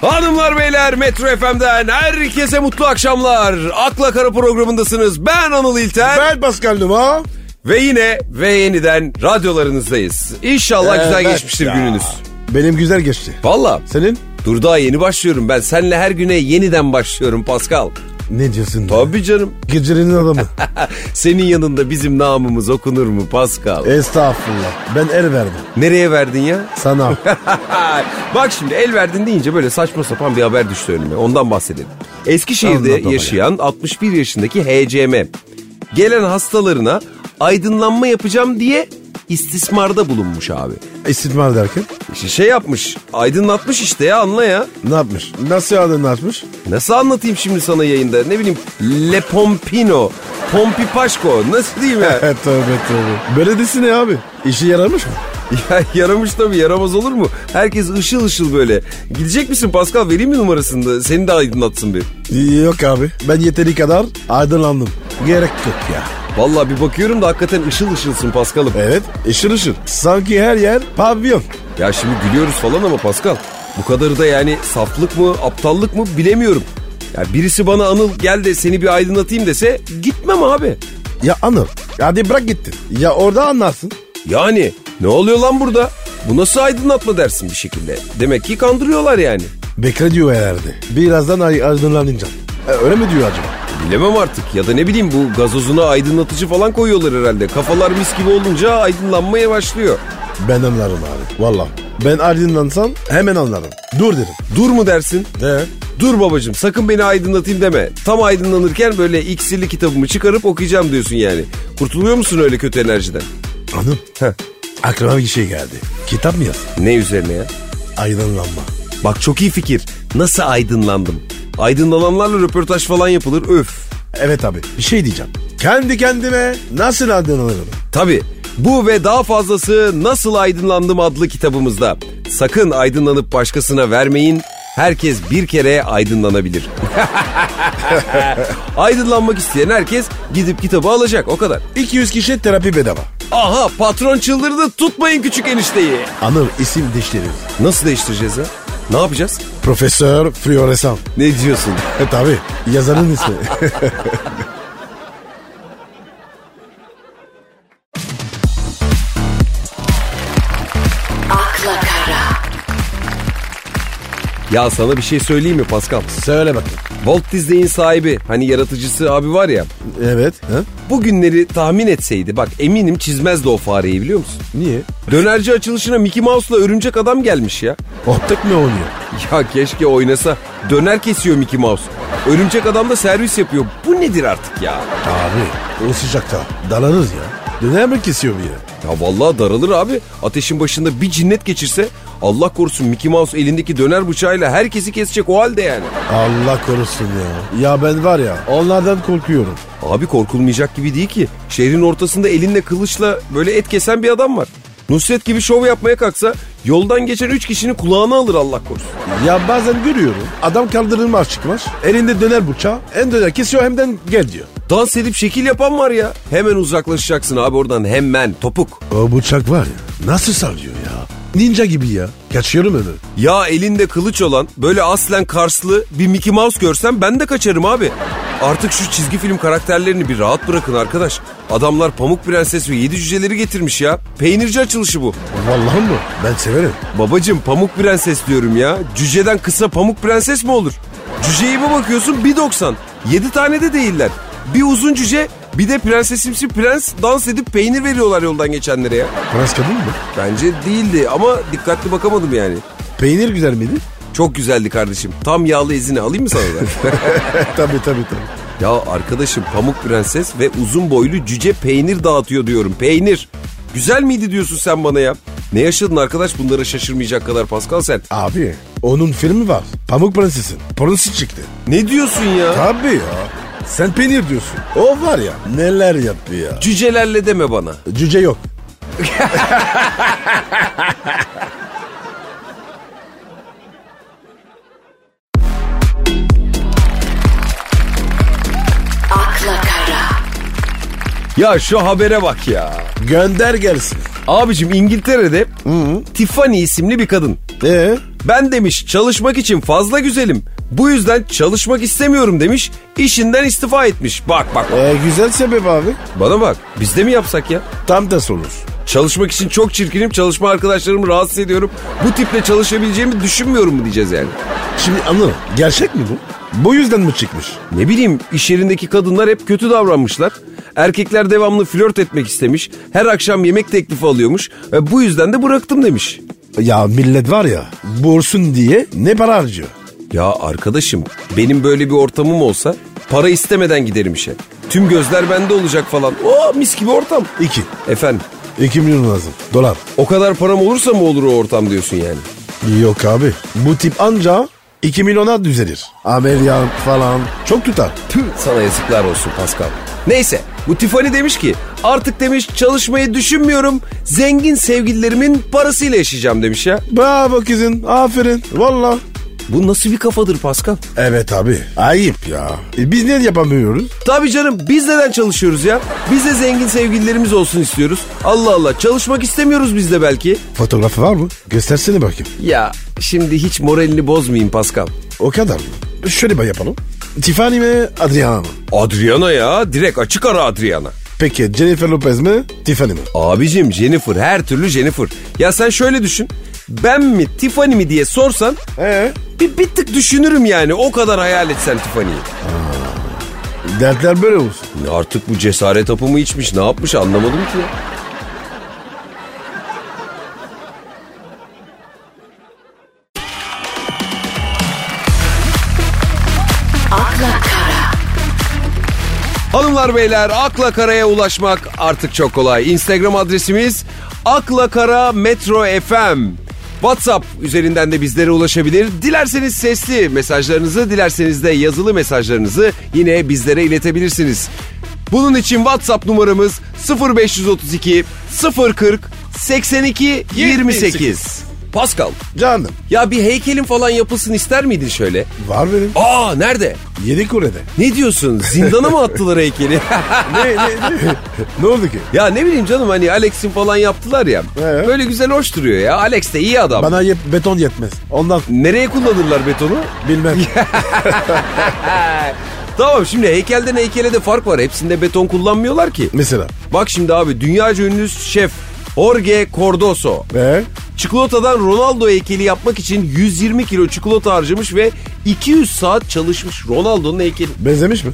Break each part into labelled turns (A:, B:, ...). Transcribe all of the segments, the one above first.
A: Hanımlar beyler Metro FM'den herkese mutlu akşamlar. Akla Kara programındasınız. Ben Anıl İlter.
B: Ben Pascal Numa.
A: Ve yine ve yeniden radyolarınızdayız. İnşallah güzel
B: Evet
A: geçmiştir
B: ya.
A: gününüz.
B: Benim güzel geçti.
A: Valla.
B: Senin?
A: Dur daha yeni başlıyorum ben. Senle her güne yeniden başlıyorum Pascal.
B: Ne diyorsun?
A: Tabii canım.
B: Gecenin adamı.
A: Senin yanında bizim namımız okunur mu Pascal?
B: E- Estağfurullah. Ben el verdim.
A: Nereye verdin ya?
B: Sana.
A: Bak şimdi el verdin deyince böyle saçma sapan bir haber düştü önüme. Ondan bahsedelim. Eskişehir'de
B: Anlat baba ya.
A: yaşayan 61 yaşındaki HCM gelen hastalarına aydınlanma yapacağım diye istismarda bulunmuş abi.
B: İstismar derken
A: İşte şey yapmış, aydınlatmış işte ya anla ya.
B: ne yapmış? Nasıl adını atmış?
A: Nasıl anlatayım şimdi sana yayında? Ne bileyim Le Pompino, Pompipaşko nasıl diyeyim ya?
B: Evet E, tövbe tövbe. Belediyesi ne abi? İşi yaramış mı?
A: Ya yaramış tabii yaramaz olur mu? Herkes ışıl ışıl böyle. Gidecek misin Pascal vereyim mi numarasını da seni de aydınlatsın bir.
B: Yok abi. Ben yeteri kadar aydınlandım. Gerek yok ya.
A: Vallahi bir bakıyorum da hakikaten ışıl ışılsın Paskal'ım.
B: Evet. Işır ışır. Sanki her yer pavyon.
A: Ya şimdi gülüyoruz falan ama Paskal bu kadarı da yani saflık mı aptallık mı bilemiyorum. Ya birisi bana Anıl gel de seni bir aydınlatayım dese gitmem abi.
B: Ya Anıl. Hadi bırak gittin. Ya orada anlarsın.
A: Yani ne oluyor lan burada? Bu nasıl aydınlatma dersin bir şekilde. Demek ki kandırıyorlar yani.
B: Bekle diyor herhalde. Birazdan ay- aydınlanacağım. E, öyle mi diyor acaba?
A: Bilemem artık ya da ne bileyim bu gazozuna aydınlatıcı falan koyuyorlar herhalde. Kafalar mis gibi olunca aydınlanmaya başlıyor.
B: Ben anlarım abi. Valla. Ben aydınlansam hemen anlarım. Dur derim.
A: Dur mu dersin?
B: De.
A: Dur babacım sakın beni aydınlatayım deme. Tam aydınlanırken böyle iksirli kitabımı çıkarıp okuyacağım diyorsun yani. Kurtuluyor musun öyle kötü enerjiden?
B: Hanım.
A: Heh.
B: Aklıma bir şey geldi. Kitap mı yaz?
A: Ne üzerine ya?
B: Aydınlanma.
A: Bak çok iyi fikir. Nasıl aydınlandım? Aydınlananlarla röportaj falan yapılır öf.
B: Evet abi. Bir şey diyeceğim. Kendi kendime nasıl aydınlanırım?
A: Tabi bu ve daha fazlası Nasıl Aydınlandım adlı kitabımızda. Sakın aydınlanıp başkasına vermeyin. Herkes bir kere aydınlanabilir. Aydınlanmak isteyen herkes gidip kitabı alacak o kadar.
B: 200 kişi terapi bedava.
A: Aha patron çıldırdı tutmayın küçük enişteyi.
B: Anıl isim dişleri.
A: Nasıl değiştireceğiz ya? Ne yapacağız?
B: Profesör Floresan.
A: Ne diyorsun?
B: E tabi. Yazarın ismi.
C: akla kara,
A: Ya sana bir şey söyleyeyim mi Pascal?
B: Söyle bakayım.
A: Walt Disney'in sahibi hani yaratıcısı abi var ya.
B: Evet. Ha?
A: Bugünleri tahmin etseydi bak eminim çizmezdi o fareyi biliyor musun?
B: Niye?
A: Dönerci açılışına Mickey Mouse'la örümcek adam gelmiş ya.
B: Optik mi oynuyor?
A: Ya keşke oynasa. Döner kesiyor Mickey Mouse. Örümcek adam da servis yapıyor. Bu nedir artık ya?
B: Abi o sıcakta dalarız ya. Döner mi kesiyor bir yere?
A: Ya vallahi daralır abi. Ateşin başında bir cinnet geçirse Allah korusun Mickey Mouse elindeki döner bıçağıyla herkesi kesecek o halde yani.
B: Allah korusun ya. Ya ben var ya onlardan korkuyorum.
A: Abi korkulmayacak gibi değil ki. Şehrin ortasında elinle kılıçla böyle et kesen bir adam var. Nusret gibi şov yapmaya kalksa yoldan geçen üç kişinin kulağını alır Allah korusun.
B: Ya bazen görüyorum adam kaldırılmaz çıkmış. Elinde döner bıçağı hem döner kesiyor hem de gel diyor.
A: Dans edip şekil yapan var ya. Hemen uzaklaşacaksın abi oradan hemen topuk.
B: O bıçak var ya nasıl sallıyor ya. Ninja gibi ya. Kaçıyorum öyle.
A: Ya elinde kılıç olan böyle aslen Karslı bir Mickey Mouse görsem ben de kaçarım abi. Artık şu çizgi film karakterlerini bir rahat bırakın arkadaş. Adamlar Pamuk Prenses ve Yedi Cüceleri getirmiş ya. Peynirci açılışı bu.
B: Vallahi mı? Ben severim.
A: Babacım Pamuk Prenses diyorum ya. Cüceden kısa Pamuk Prenses mi olur? Cüceye bir bakıyorsun 1.90. 7 tane de değiller. Bir uzun cüce bir de prensesimsi prens dans edip peynir veriyorlar yoldan geçenlere ya.
B: Prens kadın mı?
A: Bence değildi ama dikkatli bakamadım yani.
B: Peynir güzel miydi?
A: Çok güzeldi kardeşim. Tam yağlı ezini alayım mı sana da?
B: tabii tabii tabii.
A: ya arkadaşım Pamuk Prenses ve uzun boylu cüce peynir dağıtıyor diyorum. Peynir. Güzel miydi diyorsun sen bana ya? Ne yaşadın arkadaş bunlara şaşırmayacak kadar Pascal sen?
B: Abi onun filmi var. Pamuk Prenses'in. Pornosu çıktı.
A: Ne diyorsun ya?
B: Tabii ya. Sen peynir diyorsun. O var ya neler yaptı ya.
A: Cücelerle deme bana.
B: Cüce yok.
C: akla kara,
A: Ya şu habere bak ya.
B: Gönder gelsin.
A: Abicim İngiltere'de Tiffany isimli bir kadın.
B: Ee?
A: Ben demiş çalışmak için fazla güzelim. Bu yüzden çalışmak istemiyorum demiş. işinden istifa etmiş. Bak bak bak.
B: E, güzel sebep abi.
A: bana bak. Biz de mi yapsak ya?
B: Tam da olur.
A: Çalışmak için çok çirkinim. Çalışma arkadaşlarımı rahatsız ediyorum. Bu tiple çalışabileceğimi düşünmüyorum mu diyeceğiz yani.
B: Şimdi anladım. Gerçek mi bu? Bu yüzden mi çıkmış?
A: Ne bileyim iş yerindeki kadınlar hep kötü davranmışlar. Erkekler devamlı flört etmek istemiş. Her akşam yemek teklifi alıyormuş. Ve bu yüzden de bıraktım demiş.
B: Ya millet var ya borsun diye ne para harcıyor?
A: Ya arkadaşım benim böyle bir ortamım olsa para istemeden giderim işe. Tüm gözler bende olacak falan. Oo mis gibi ortam. E,
B: İki.
A: Efendim
B: İki milyon lazım. Dolar.
A: o kadar param olursa mı olur o ortam diyorsun yani.
B: Yok abi. Bu tip anca 2 milyona düzelir. Ameliyat falan. Çok tutar.
A: Tüh sana yazıklar olsun Pascal. Neyse bu Tiffany demiş ki artık demiş çalışmayı düşünmüyorum. Zengin sevgililerimin parasıyla yaşayacağım demiş ya.
B: Bravo kızın. Aferin. Valla.
A: Bu nasıl bir kafadır Pascal?
B: Evet abi. Ayıp ya. E, biz niye yapamıyoruz?
A: Tabii canım biz neden çalışıyoruz ya? Biz de zengin sevgililerimiz olsun istiyoruz. Allah Allah çalışmak istemiyoruz biz de belki.
B: Fotoğrafı var mı? Göstersene bakayım.
A: Ya şimdi hiç moralini bozmayayım Pascal.
B: O kadar mı? Şöyle bir yapalım. Tiffany mi Adriana mı?
A: Adriana ya direkt açık ara Adriana.
B: Peki Jennifer Lopez mi Tiffany mi?
A: Abicim Jennifer her türlü Jennifer. Ya sen şöyle düşün. Ben mi Tiffany mi diye sorsan
B: Ee?
A: bir, bir tık düşünürüm yani o kadar hayal etsen Tiffany'yi.
B: Dertler böyle olsun.
A: Artık bu cesaret hapı mı içmiş ne yapmış anlamadım ki ya.
C: akla kara,
A: Hanımlar beyler akla karaya ulaşmak artık çok kolay. Instagram adresimiz aklakara metro fm. WhatsApp üzerinden de bizlere ulaşabilir. Dilerseniz sesli mesajlarınızı, dilerseniz de yazılı mesajlarınızı yine bizlere iletebilirsiniz. Bunun için WhatsApp numaramız 0532 040 82 28. Pascal,
B: Canım.
A: ya bir heykelin falan yapılsın ister miydin şöyle?
B: Var benim.
A: Aa nerede?
B: Yedi Kore'de.
A: Ne diyorsun? Zindana mı attılar heykeli?
B: ne, ne, ne? ne oldu ki?
A: Ya ne bileyim canım hani Alex'in falan yaptılar ya.
B: Ee?
A: Böyle güzel hoş duruyor ya. Alex de iyi adam.
B: Bana yep, beton yetmez. Ondan
A: Nereye kullanırlar betonu?
B: bilmem.
A: Tamam şimdi heykelden heykele de fark var. Hepsinde beton kullanmıyorlar ki.
B: Mesela.
A: Bak şimdi abi dünyaca ünlü şef Jorge Cordoso.
B: Ve
A: Çikolatadan Ronaldo heykeli yapmak için 120 kilo çikolata harcamış ve 200 saat çalışmış Ronaldo'nun heykeli.
B: benzemiş mi?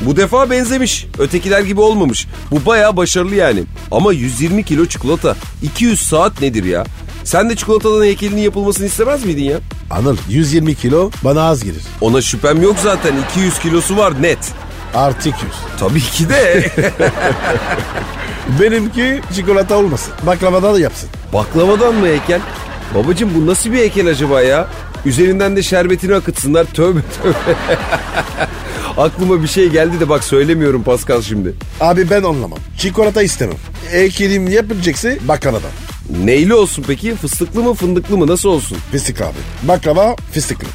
A: Bu defa benzemiş. Ötekiler gibi olmamış. Bu bayağı başarılı yani. Ama 120 kilo çikolata. 200 saat nedir ya? Sen de çikolatadan heykelinin yapılmasını istemez miydin ya?
B: Anıl 120 kilo bana az gelir.
A: Ona şüphem yok zaten. 200 kilosu var net.
B: Artık 100.
A: Tabii ki de.
B: Benimki çikolata olmasın. Baklavada da yapsın.
A: Baklavadan mı heykel? Babacım bu nasıl bir heykel acaba ya? Üzerinden de şerbetini akıtsınlar. Tövbe tövbe. Aklıma bir şey geldi de bak söylemiyorum Pascal şimdi.
B: Abi ben anlamam. Çikolata istemem. Ekelim yapılacaksa baklavada.
A: Neyli olsun peki? Fıstıklı mı fındıklı mı nasıl olsun?
B: Fıstık abi. Baklava fıstıklı.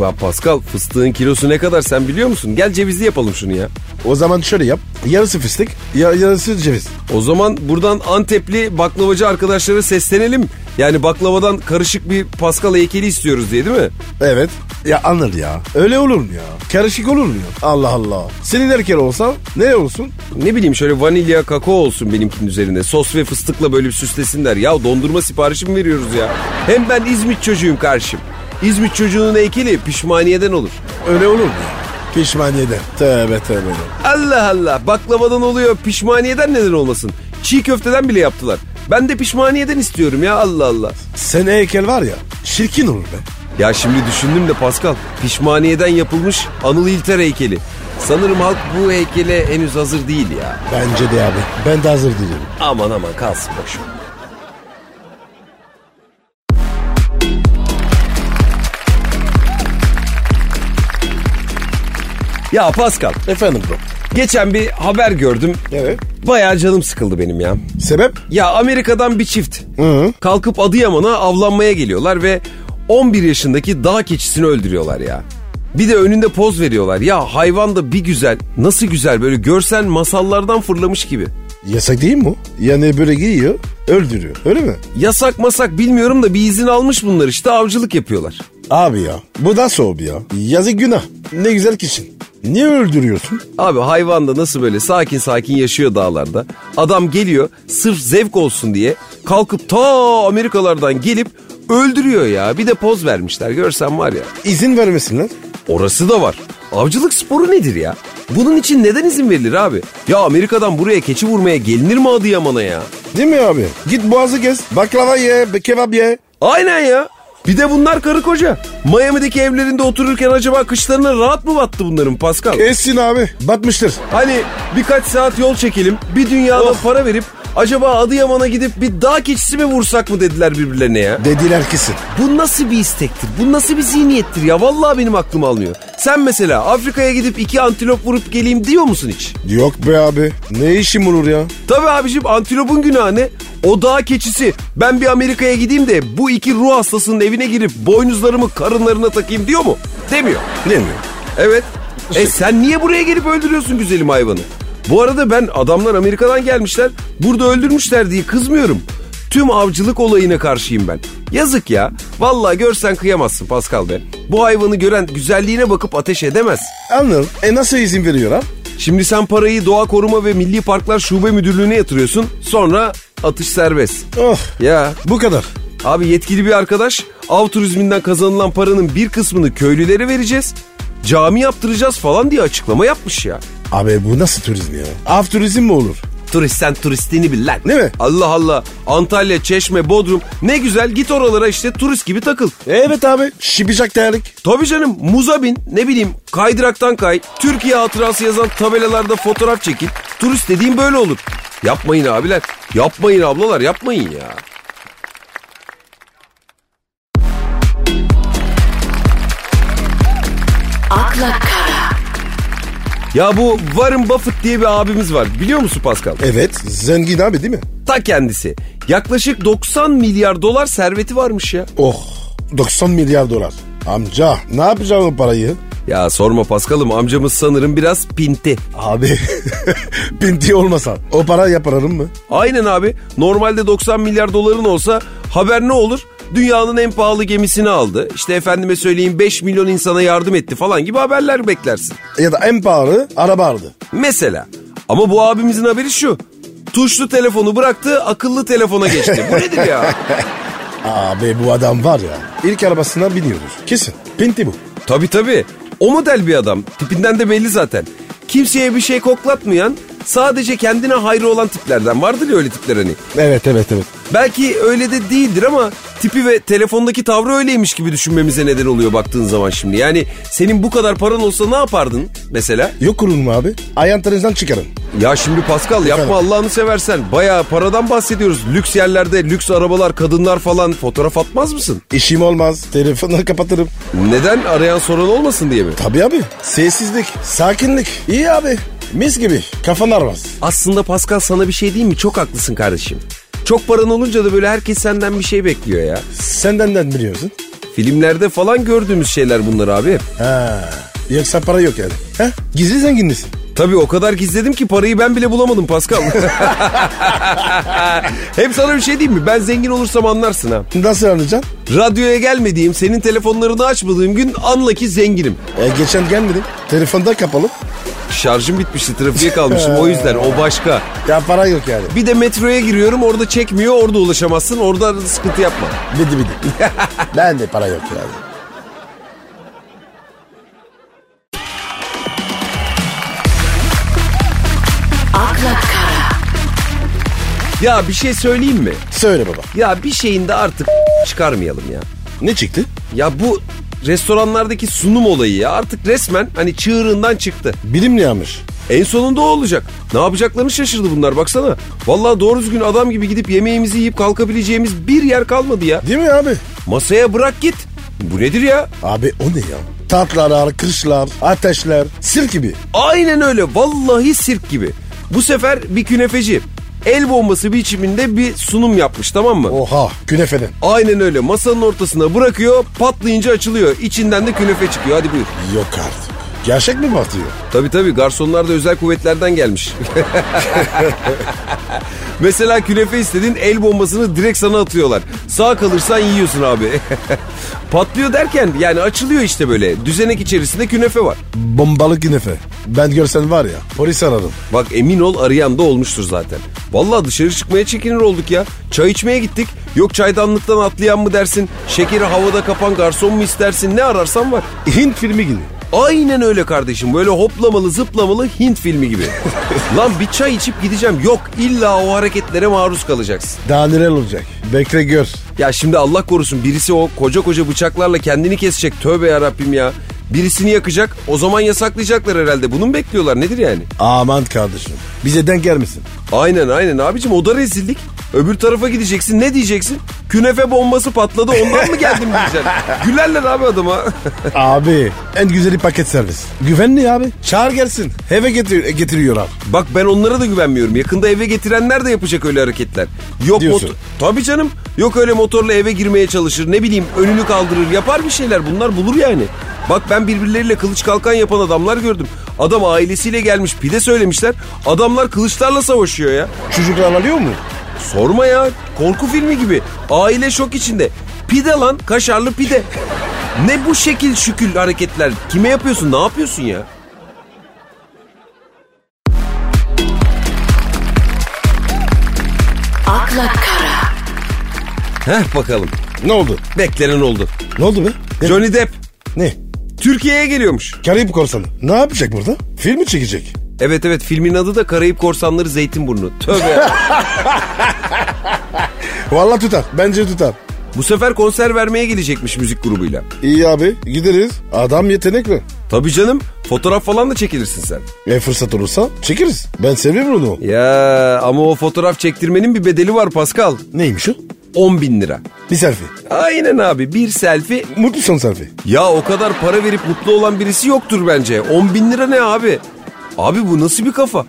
A: Ya Pascal fıstığın kilosu ne kadar sen biliyor musun? Gel cevizli yapalım şunu ya.
B: O zaman şöyle yap. Yarısı fıstık, ya- yarısı ceviz.
A: O zaman buradan Antepli baklavacı arkadaşlara seslenelim. Yani baklavadan karışık bir Pascal heykeli istiyoruz diye değil mi?
B: Evet. Ya Anıl ya. Öyle olur mu ya? Karışık olur mu ya? Allah Allah. Senin erken olsa ne olsun?
A: Ne bileyim şöyle vanilya kakao olsun benimkinin üzerine. Sos ve fıstıkla böyle bir süslesinler. Ya dondurma siparişi mi veriyoruz ya? Hem ben İzmit çocuğuyum karşım. İzmit çocuğunun heykeli pişmaniyeden olur.
B: Öyle olur mu ya? Pişmaniyeden. Tövbe tövbe.
A: Allah Allah baklavadan oluyor pişmaniyeden neden olmasın? Çiğ köfteden bile yaptılar. Ben de pişmaniyeden istiyorum ya Allah Allah.
B: Sen heykel var ya şirkin olur be.
A: Ya şimdi düşündüm de Pascal, pişmaniyeden yapılmış Anıl İlter heykeli. Sanırım halk bu heykele henüz hazır değil ya.
B: Bence de abi. Ben de hazır değilim.
A: Aman aman kalsın boş. Ya Pascal,
B: Efendim bro.
A: geçen bir haber gördüm.
B: Evet.
A: Bayağı canım sıkıldı benim ya.
B: Sebep?
A: Ya Amerika'dan bir çift
B: hı.
A: kalkıp Adıyaman'a avlanmaya geliyorlar ve 11 yaşındaki dağ keçisini öldürüyorlar ya. Bir de önünde poz veriyorlar. Ya hayvan da bir güzel, nasıl güzel böyle görsen masallardan fırlamış gibi.
B: Yasak değil mi o? Yani böyle giyiyor öldürüyor öyle mi?
A: Yasak masak bilmiyorum da bir izin almış bunlar işte avcılık yapıyorlar.
B: Abi ya bu nasıl hobi ya? Yazık günah. Ne güzel kişi. Niye öldürüyorsun?
A: Abi hayvan da nasıl böyle sakin sakin yaşıyor dağlarda. Adam geliyor sırf zevk olsun diye kalkıp ta Amerikalardan gelip öldürüyor ya. Bir de poz vermişler görsen var ya.
B: İzin vermesinler.
A: Orası da var. Avcılık sporu nedir ya? Bunun için neden izin verilir abi? Ya Amerika'dan buraya keçi vurmaya gelinir mi Adıyaman'a ya?
B: Değil mi abi? Git boğazı gez. Baklava ye, be- kebap ye.
A: Aynen ya. Bir de bunlar karı koca. Miami'deki evlerinde otururken acaba kışlarına rahat mı battı bunların Pascal?
B: Essin abi. Batmıştır.
A: Hani birkaç saat yol çekelim, bir dünyada para verip acaba Adıyaman'a gidip bir dağ keçisi mi vursak mı dediler birbirlerine ya.
B: Dediler kesin.
A: Bu nasıl bir istektir? Bu nasıl bir zihniyettir ya? Vallahi benim aklım almıyor. Sen mesela Afrika'ya gidip iki antilop vurup geleyim diyor musun hiç?
B: Yok be abi. Ne işim olur ya?
A: Tabii abicim antilopun günahı ne? O dağ keçisi. Ben bir Amerika'ya gideyim de bu iki ruh hastasının evine girip boynuzlarımı karınlarına takayım diyor mu? Demiyor.
B: Değil mi?
A: Evet. E sen niye buraya gelip öldürüyorsun güzelim hayvanı? Bu arada ben adamlar Amerika'dan gelmişler. Burada öldürmüşler diye kızmıyorum. Tüm avcılık olayına karşıyım ben. Yazık ya. Vallahi görsen kıyamazsın Pascal be. Bu hayvanı gören güzelliğine bakıp ateş edemez.
B: Anladım. E nasıl izin veriyor ha?
A: Şimdi sen parayı Doğa Koruma ve Milli Parklar Şube Müdürlüğü'ne yatırıyorsun. Sonra atış serbest.
B: Oh.
A: Ya
B: Bu kadar.
A: Abi yetkili bir arkadaş av turizminden kazanılan paranın bir kısmını köylülere vereceğiz. Cami yaptıracağız falan diye açıklama yapmış ya.
B: Abi bu nasıl turizm ya? Av turizm mi olur?
A: Turist sen turistini bil lan.
B: Değil mi?
A: Allah Allah. Antalya, Çeşme, Bodrum ne güzel git oralara işte turist gibi takıl.
B: Evet abi. Şipicak terlik.
A: Tabii canım muza bin ne bileyim kaydıraktan kay. Türkiye hatırası yazan tabelalarda fotoğraf çekin. Turist dediğim böyle olur. Yapmayın abiler. Yapmayın ablalar yapmayın ya.
C: akla kara,
A: Ya bu Warren Buffett diye bir abimiz var biliyor musun Pascal?
B: Evet. Zengin abi değil mi?
A: Ta kendisi. Yaklaşık 90 milyar dolar serveti varmış ya.
B: Oh. 90 milyar dolar. Amca ne yapacağım o parayı?
A: Ya sorma Paskal'ım amcamız sanırım biraz pinti.
B: Abi pinti olmasa o para yaparım mı?
A: Aynen abi normalde 90 milyar doların olsa haber ne olur? Dünyanın en pahalı gemisini aldı. İşte efendime söyleyeyim 5 milyon insana yardım etti falan gibi haberler beklersin.
B: Ya da en pahalı araba aldı.
A: Mesela ama bu abimizin haberi şu. Tuşlu telefonu bıraktı akıllı telefona geçti. Bu nedir ya?
B: Abi bu adam var ya ilk arabasına biniyordur. Kesin pinti bu.
A: Tabii tabii. O model bir adam. Tipinden de belli zaten. Kimseye bir şey koklatmayan, sadece kendine hayrı olan tiplerden. Vardır ya öyle tipler hani.
B: Evet evet evet.
A: Belki öyle de değildir ama tipi ve telefondaki tavrı öyleymiş gibi düşünmemize neden oluyor baktığın zaman şimdi. Yani senin bu kadar paran olsa ne yapardın mesela?
B: Yok kurulun mu abi? Ayantlarınızdan çıkarın.
A: Ya şimdi Pascal yapma Allah'ını seversen. Bayağı paradan bahsediyoruz. Lüks yerlerde lüks arabalar, kadınlar falan fotoğraf atmaz mısın?
B: İşim olmaz. Telefonu kapatırım.
A: Neden arayan soran olmasın diye mi?
B: Tabii abi. Sessizlik, sakinlik. İyi abi. Mis gibi. Kafan armaz.
A: Aslında Pascal sana bir şey diyeyim mi? Çok haklısın kardeşim. Çok paran olunca da böyle herkes senden bir şey bekliyor ya.
B: Senden de biliyorsun.
A: Filmlerde falan gördüğümüz şeyler bunlar abi.
B: Ha. Yoksa para yok yani. He? Gizli zenginlisin.
A: Tabii o kadar gizledim ki parayı ben bile bulamadım Pascal. Hep sana bir şey diyeyim mi? Ben zengin olursam anlarsın ha.
B: Nasıl anlayacaksın?
A: Radyoya gelmediğim, senin telefonlarını açmadığım gün anla ki zenginim.
B: E, geçen gelmedim. Telefonda kapalı.
A: Şarjım bitmişti, trafiğe kalmışım o yüzden o başka.
B: Ya para yok yani.
A: Bir de metroya giriyorum orada çekmiyor, orada ulaşamazsın, orada sıkıntı yapma.
B: Bidi bidi. ben de para yok yani.
C: akla kara,
A: Ya bir şey söyleyeyim mi?
B: Söyle baba.
A: Ya bir şeyin de artık çıkarmayalım ya.
B: Ne çıktı?
A: Ya bu restoranlardaki sunum olayı ya artık resmen hani çığırından çıktı.
B: Bilim ne yapmış?
A: En sonunda o olacak. Ne yapacaklarını şaşırdı bunlar baksana. Vallahi doğru düzgün adam gibi gidip yemeğimizi yiyip kalkabileceğimiz bir yer kalmadı ya.
B: Değil mi abi?
A: Masaya bırak git. Bu nedir ya?
B: Abi o ne ya? Tatlalar, kırışlar, ateşler, sirk gibi.
A: Aynen öyle. Vallahi sirk gibi. Bu sefer bir künefeci el bombası biçiminde bir sunum yapmış tamam mı?
B: Oha künefeden.
A: Aynen öyle. Masanın ortasına bırakıyor, patlayınca açılıyor. İçinden de künefe çıkıyor. Hadi buyur.
B: Yok artık. Gerçek mi batıyor?
A: Tabii tabii garsonlar da özel kuvvetlerden gelmiş. Mesela künefe istedin el bombasını direkt sana atıyorlar. Sağ kalırsan yiyorsun abi. Patlıyor derken yani açılıyor işte böyle. Düzenek içerisinde künefe var.
B: Bombalı künefe. Ben görsen var ya polis ararım.
A: Bak emin ol arayan da olmuştur zaten. Vallahi dışarı çıkmaya çekinir olduk ya. Çay içmeye gittik. Yok çaydanlıktan atlayan mı dersin? Şekeri havada kapan garson mu istersin? Ne ararsan var.
B: Hint filmi gibi.
A: Aynen öyle kardeşim. Böyle hoplamalı zıplamalı Hint filmi gibi. Lan bir çay içip gideceğim. Yok illa o hareketlere maruz kalacaksın.
B: Daha neler olacak? Bekle gör.
A: Ya şimdi Allah korusun birisi o koca koca bıçaklarla kendini kesecek. Tövbe yarabbim ya. Birisini yakacak o zaman yasaklayacaklar herhalde. Bunu mu bekliyorlar nedir yani?
B: Aman kardeşim. Bize denk gelmesin.
A: Aynen aynen abicim o da rezillik. Öbür tarafa gideceksin ne diyeceksin? Künefe bombası patladı ondan mı geldim diyeceksin. Gülerler abi adama.
B: abi en güzeli paket servis. Güvenli abi. Çağır gelsin. Eve getir getiriyorlar.
A: Bak ben onlara da güvenmiyorum. Yakında eve getirenler de yapacak öyle hareketler. Yok
B: Diyorsun.
A: motor... Tabii canım. Yok öyle motorla eve girmeye çalışır. Ne bileyim önünü kaldırır. Yapar bir şeyler. Bunlar bulur yani. Bak ben birbirleriyle kılıç kalkan yapan adamlar gördüm. Adam ailesiyle gelmiş pide söylemişler. Adamlar kılıçlarla savaşıyor ya.
B: Çocuklar alıyor mu?
A: Sorma ya. Korku filmi gibi. Aile şok içinde. Pide lan kaşarlı pide. Ne bu şekil şükül hareketler? Kime yapıyorsun? Ne yapıyorsun ya?
C: akla kara,
A: Heh bakalım.
B: Ne oldu?
A: Beklenen oldu.
B: Ne oldu be? Ne?
A: Johnny Depp
B: ne?
A: Türkiye'ye geliyormuş.
B: Karayip korsanı. Ne yapacak burada? Film mi çekecek?
A: Evet evet filmin adı da Karayip Korsanları Zeytinburnu. Tövbe ya.
B: Vallahi tutar. Bence tutar.
A: Bu sefer konser vermeye gidecekmiş müzik grubuyla.
B: İyi abi gideriz. Adam yetenekli.
A: Tabii canım fotoğraf falan da çekilirsin sen.
B: E fırsat olursa çekeriz. Ben seviyorum onu.
A: Ya ama o fotoğraf çektirmenin bir bedeli var Pascal.
B: Neymiş o?
A: 10 bin lira.
B: Bir selfie.
A: Aynen abi bir selfie.
B: Mutlu son selfie.
A: Ya o kadar para verip mutlu olan birisi yoktur bence. 10 bin lira ne abi? Abi bu nasıl bir kafa?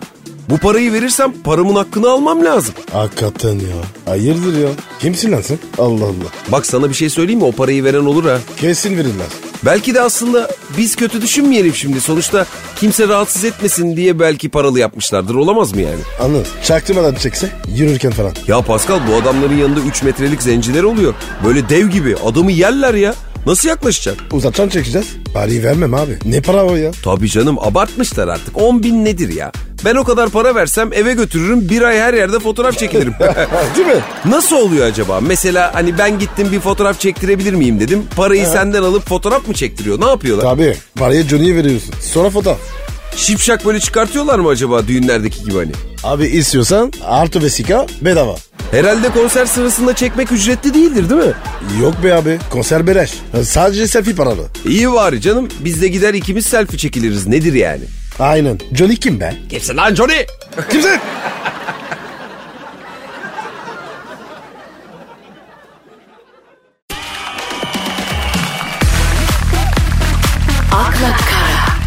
A: Bu parayı verirsem paramın hakkını almam lazım.
B: Hakikaten ya. Hayırdır ya. Kimsin lan sen? Allah Allah.
A: Bak sana bir şey söyleyeyim mi? O parayı veren olur ha.
B: Kesin verirler.
A: Belki de aslında biz kötü düşünmeyelim şimdi. Sonuçta kimse rahatsız etmesin diye belki paralı yapmışlardır. Olamaz mı yani?
B: Anladın. Çaktırmadan çekse yürürken falan.
A: Ya Pascal bu adamların yanında 3 metrelik zenciler oluyor. Böyle dev gibi adamı yerler ya. Nasıl yaklaşacak?
B: Uzaktan çekeceğiz. Parayı vermem abi. Ne para o ya?
A: Tabii canım abartmışlar artık. 10 bin nedir ya? Ben o kadar para versem eve götürürüm bir ay her yerde fotoğraf çekilirim.
B: Değil mi?
A: Nasıl oluyor acaba? Mesela hani ben gittim bir fotoğraf çektirebilir miyim dedim. Parayı senden alıp fotoğraf mı çektiriyor? Ne yapıyorlar?
B: Tabii. Parayı Johnny'ye veriyorsun. Sonra fotoğraf.
A: Şipşak böyle çıkartıyorlar mı acaba düğünlerdeki gibi hani?
B: Abi istiyorsan artı vesika bedava.
A: Herhalde konser sırasında çekmek ücretli değildir değil mi?
B: Yok be abi. Konser beleş. Sadece selfie paralı.
A: İyi var canım. Biz de gider ikimiz selfie çekiliriz. Nedir yani?
B: Aynen. Johnny kim be?
A: Kimsin lan Johnny?
B: Kimsin?
C: akla kara,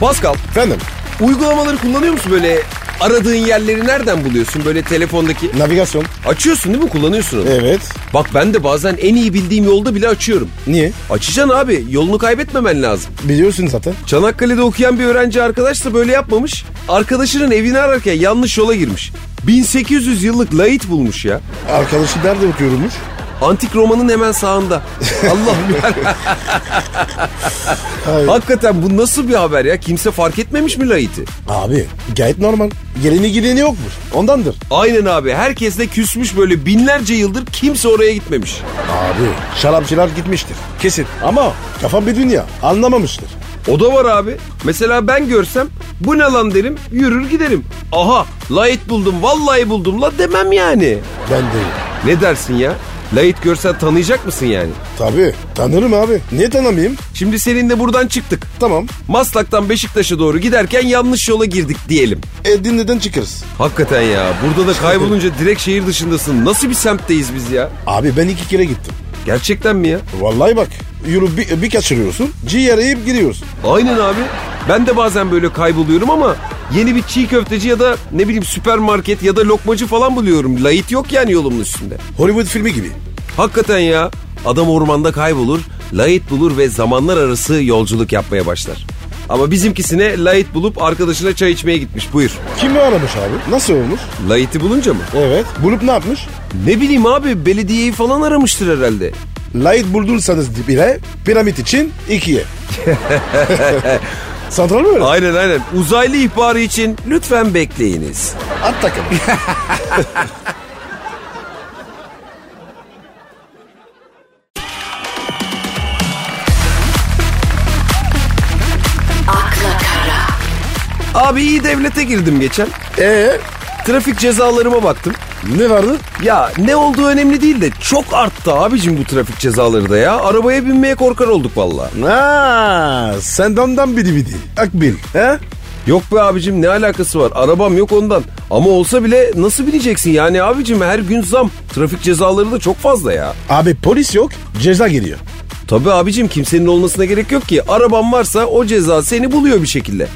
A: Pascal,
B: Efendim.
A: uygulamaları kullanıyor musun böyle? Aradığın yerleri nereden buluyorsun? Böyle telefondaki...
B: Navigasyon.
A: Açıyorsun değil mi? Kullanıyorsun onu.
B: Evet.
A: Bak ben de bazen en iyi bildiğim yolda bile açıyorum.
B: Niye?
A: Açacaksın abi. Yolunu kaybetmemen lazım.
B: Biliyorsun zaten.
A: Çanakkale'de okuyan bir öğrenci arkadaş da böyle yapmamış. Arkadaşının evini ararken yanlış yola girmiş. 1800 yıllık lait bulmuş ya.
B: Arkadaşı nerede okuyormuş?
A: Antik Roma'nın hemen sağında. Allah
B: Hayır.
A: Hakikaten bu nasıl bir haber ya? Kimse fark etmemiş mi Lahit'i?
B: Abi gayet normal. Geleni gideni yokmuş. Ondandır.
A: Aynen abi. Herkes de küsmüş böyle binlerce yıldır kimse oraya gitmemiş.
B: Abi şarapçılar gitmiştir. Kesin. Ama kafam bir dünya. Anlamamıştır.
A: O da var abi. Mesela ben görsem bu ne lan derim yürür giderim. Aha Lahit buldum vallahi buldum la demem yani.
B: Ben değil.
A: Ne dersin ya? Lahit görsen tanıyacak mısın yani?
B: Tabii. Tanırım abi. Niye tanımayayım?
A: Şimdi seninle buradan çıktık.
B: Tamam.
A: Maslak'tan Beşiktaş'a doğru giderken yanlış yola girdik diyelim.
B: Edirne'den e, çıkarız.
A: Hakikaten ya burada da kaybolunca direkt şehir dışındasın. Nasıl bir semtteyiz biz ya?
B: Abi ben iki kere gittim.
A: Gerçekten mi ya?
B: Vallahi bak. Yürü bir, bir kaçırıyorsun. Ciğer yiyip giriyorsun.
A: Aynen abi. Ben de bazen böyle kayboluyorum ama yeni bir çiğ köfteci ya da ne bileyim süpermarket ya da lokmacı falan buluyorum. Layit yok yani yolumun üstünde.
B: Hollywood filmi gibi.
A: Hakikaten ya. Adam ormanda kaybolur. Light bulur ve zamanlar arası yolculuk yapmaya başlar. Ama bizimkisine Light bulup arkadaşına çay içmeye gitmiş buyur.
B: Kimi aramış abi? Nasıl olmuş?
A: Light'i bulunca mı?
B: Evet. Bulup ne yapmış?
A: Ne bileyim abi belediyeyi falan aramıştır herhalde.
B: Light buldursanız bile piramit için ikiye. Santral mı öyle?
A: Aynen aynen. Uzaylı ihbarı için lütfen bekleyiniz.
B: At takım.
C: akla kara,
A: Abi iyi devlete girdim geçen.
B: Ee,
A: Trafik cezalarıma baktım.
B: ne vardı?
A: Ya ne olduğu önemli değil de çok arttı abicim bu trafik cezaları da ya. Arabaya binmeye korkar olduk valla.
B: Aa, sen damdan bidi bidi. Akbil. He?
A: Yok be abicim ne alakası var? Arabam yok ondan. Ama olsa bile nasıl bineceksin yani abicim her gün zam. Trafik cezaları da çok fazla ya.
B: Abi polis yok ceza geliyor.
A: Tabii abicim kimsenin olmasına gerek yok ki. Araban varsa o ceza seni buluyor bir şekilde.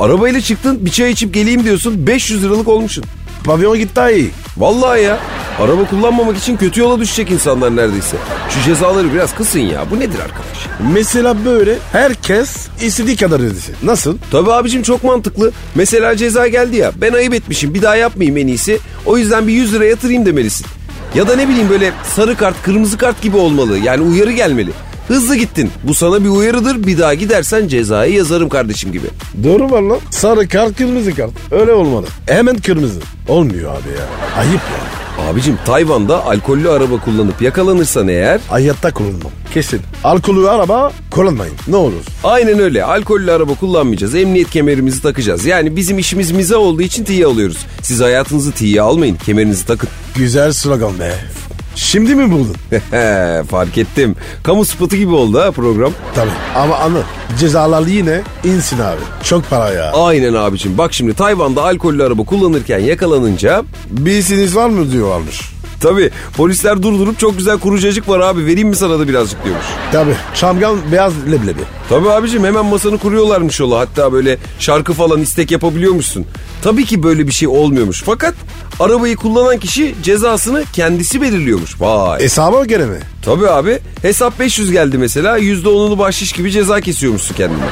A: Arabayla çıktın bir çay içip geleyim diyorsun 500 liralık olmuşsun.
B: Pavyon git daha iyi.
A: Vallahi ya. Araba kullanmamak için kötü yola düşecek insanlar neredeyse. Şu cezaları biraz kısın ya. Bu nedir arkadaş?
B: Mesela böyle herkes istediği kadar ödesin. Nasıl?
A: Tabii abicim çok mantıklı. Mesela ceza geldi ya. Ben ayıp etmişim. Bir daha yapmayayım en iyisi. O yüzden bir 100 lira yatırayım demelisin. Ya da ne bileyim böyle sarı kart, kırmızı kart gibi olmalı. Yani uyarı gelmeli. Hızlı gittin. Bu sana bir uyarıdır. Bir daha gidersen cezayı yazarım kardeşim gibi.
B: Doğru var lan. Sarı kart kırmızı kart. Öyle olmalı. Hemen kırmızı. Olmuyor abi ya. Ayıp ya.
A: Abicim Tayvan'da alkollü araba kullanıp yakalanırsan eğer
B: Hayatta kullanmam. Kesin. Alkolü araba kullanmayın. Ne olur.
A: aynen öyle alkollü araba kullanmayacağız. Emniyet kemerimizi takacağız. Yani bizim işimiz mize olduğu için tiye alıyoruz. Siz hayatınızı tiye almayın. Kemerinizi takın.
B: Güzel slogan be. Şimdi mi buldun?
A: Fark ettim. Kamu spotu gibi oldu ha program.
B: Tabii. Ama anı cezalar yine insin abi. Çok para ya.
A: Aynen abicim. Bak şimdi Tayvan'da alkollü araba kullanırken yakalanınca
B: Bilsiniz var mı diyorlarmış.
A: tabi polisler durdurup çok güzel kurucacık var abi vereyim mi sana da birazcık diyormuş.
B: Tabii. Şamgan beyaz leblebi.
A: Tabi abicim hemen masanı kuruyorlarmış yola hatta böyle şarkı falan istek yapabiliyormuşsun. Tabii ki böyle bir şey olmuyormuş fakat arabayı kullanan kişi cezasını kendisi belirliyormuş. Vay. E,
B: Hesaba göre mi?
A: Tabii abi hesap 500 geldi mesela %10'unu bahşiş gibi ceza kesiyormuşsun kendine.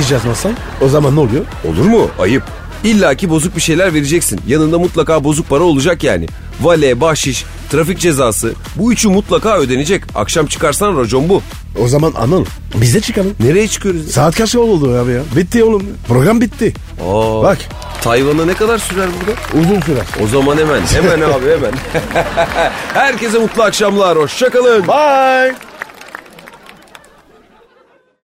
B: İş yazmazsan o zaman ne oluyor?
A: Olur mu? Ayıp. İlla ki bozuk bir şeyler vereceksin. Yanında mutlaka bozuk para olacak yani. Vale, bahşiş, trafik cezası. Bu üçü mutlaka ödenecek. Akşam çıkarsan racon bu.
B: O zaman Anıl bize çıkalım.
A: Nereye çıkıyoruz?
B: Saat kaç oldu abi ya? Bitti oğlum. Program bitti.
A: Aa,
B: Bak
A: Tayvan'a ne kadar sürer burada?
B: uzun sürer.
A: O zaman hemen, hemen abi hemen. Herkese mutlu akşamlar. Hoşçakalın.
B: Bye.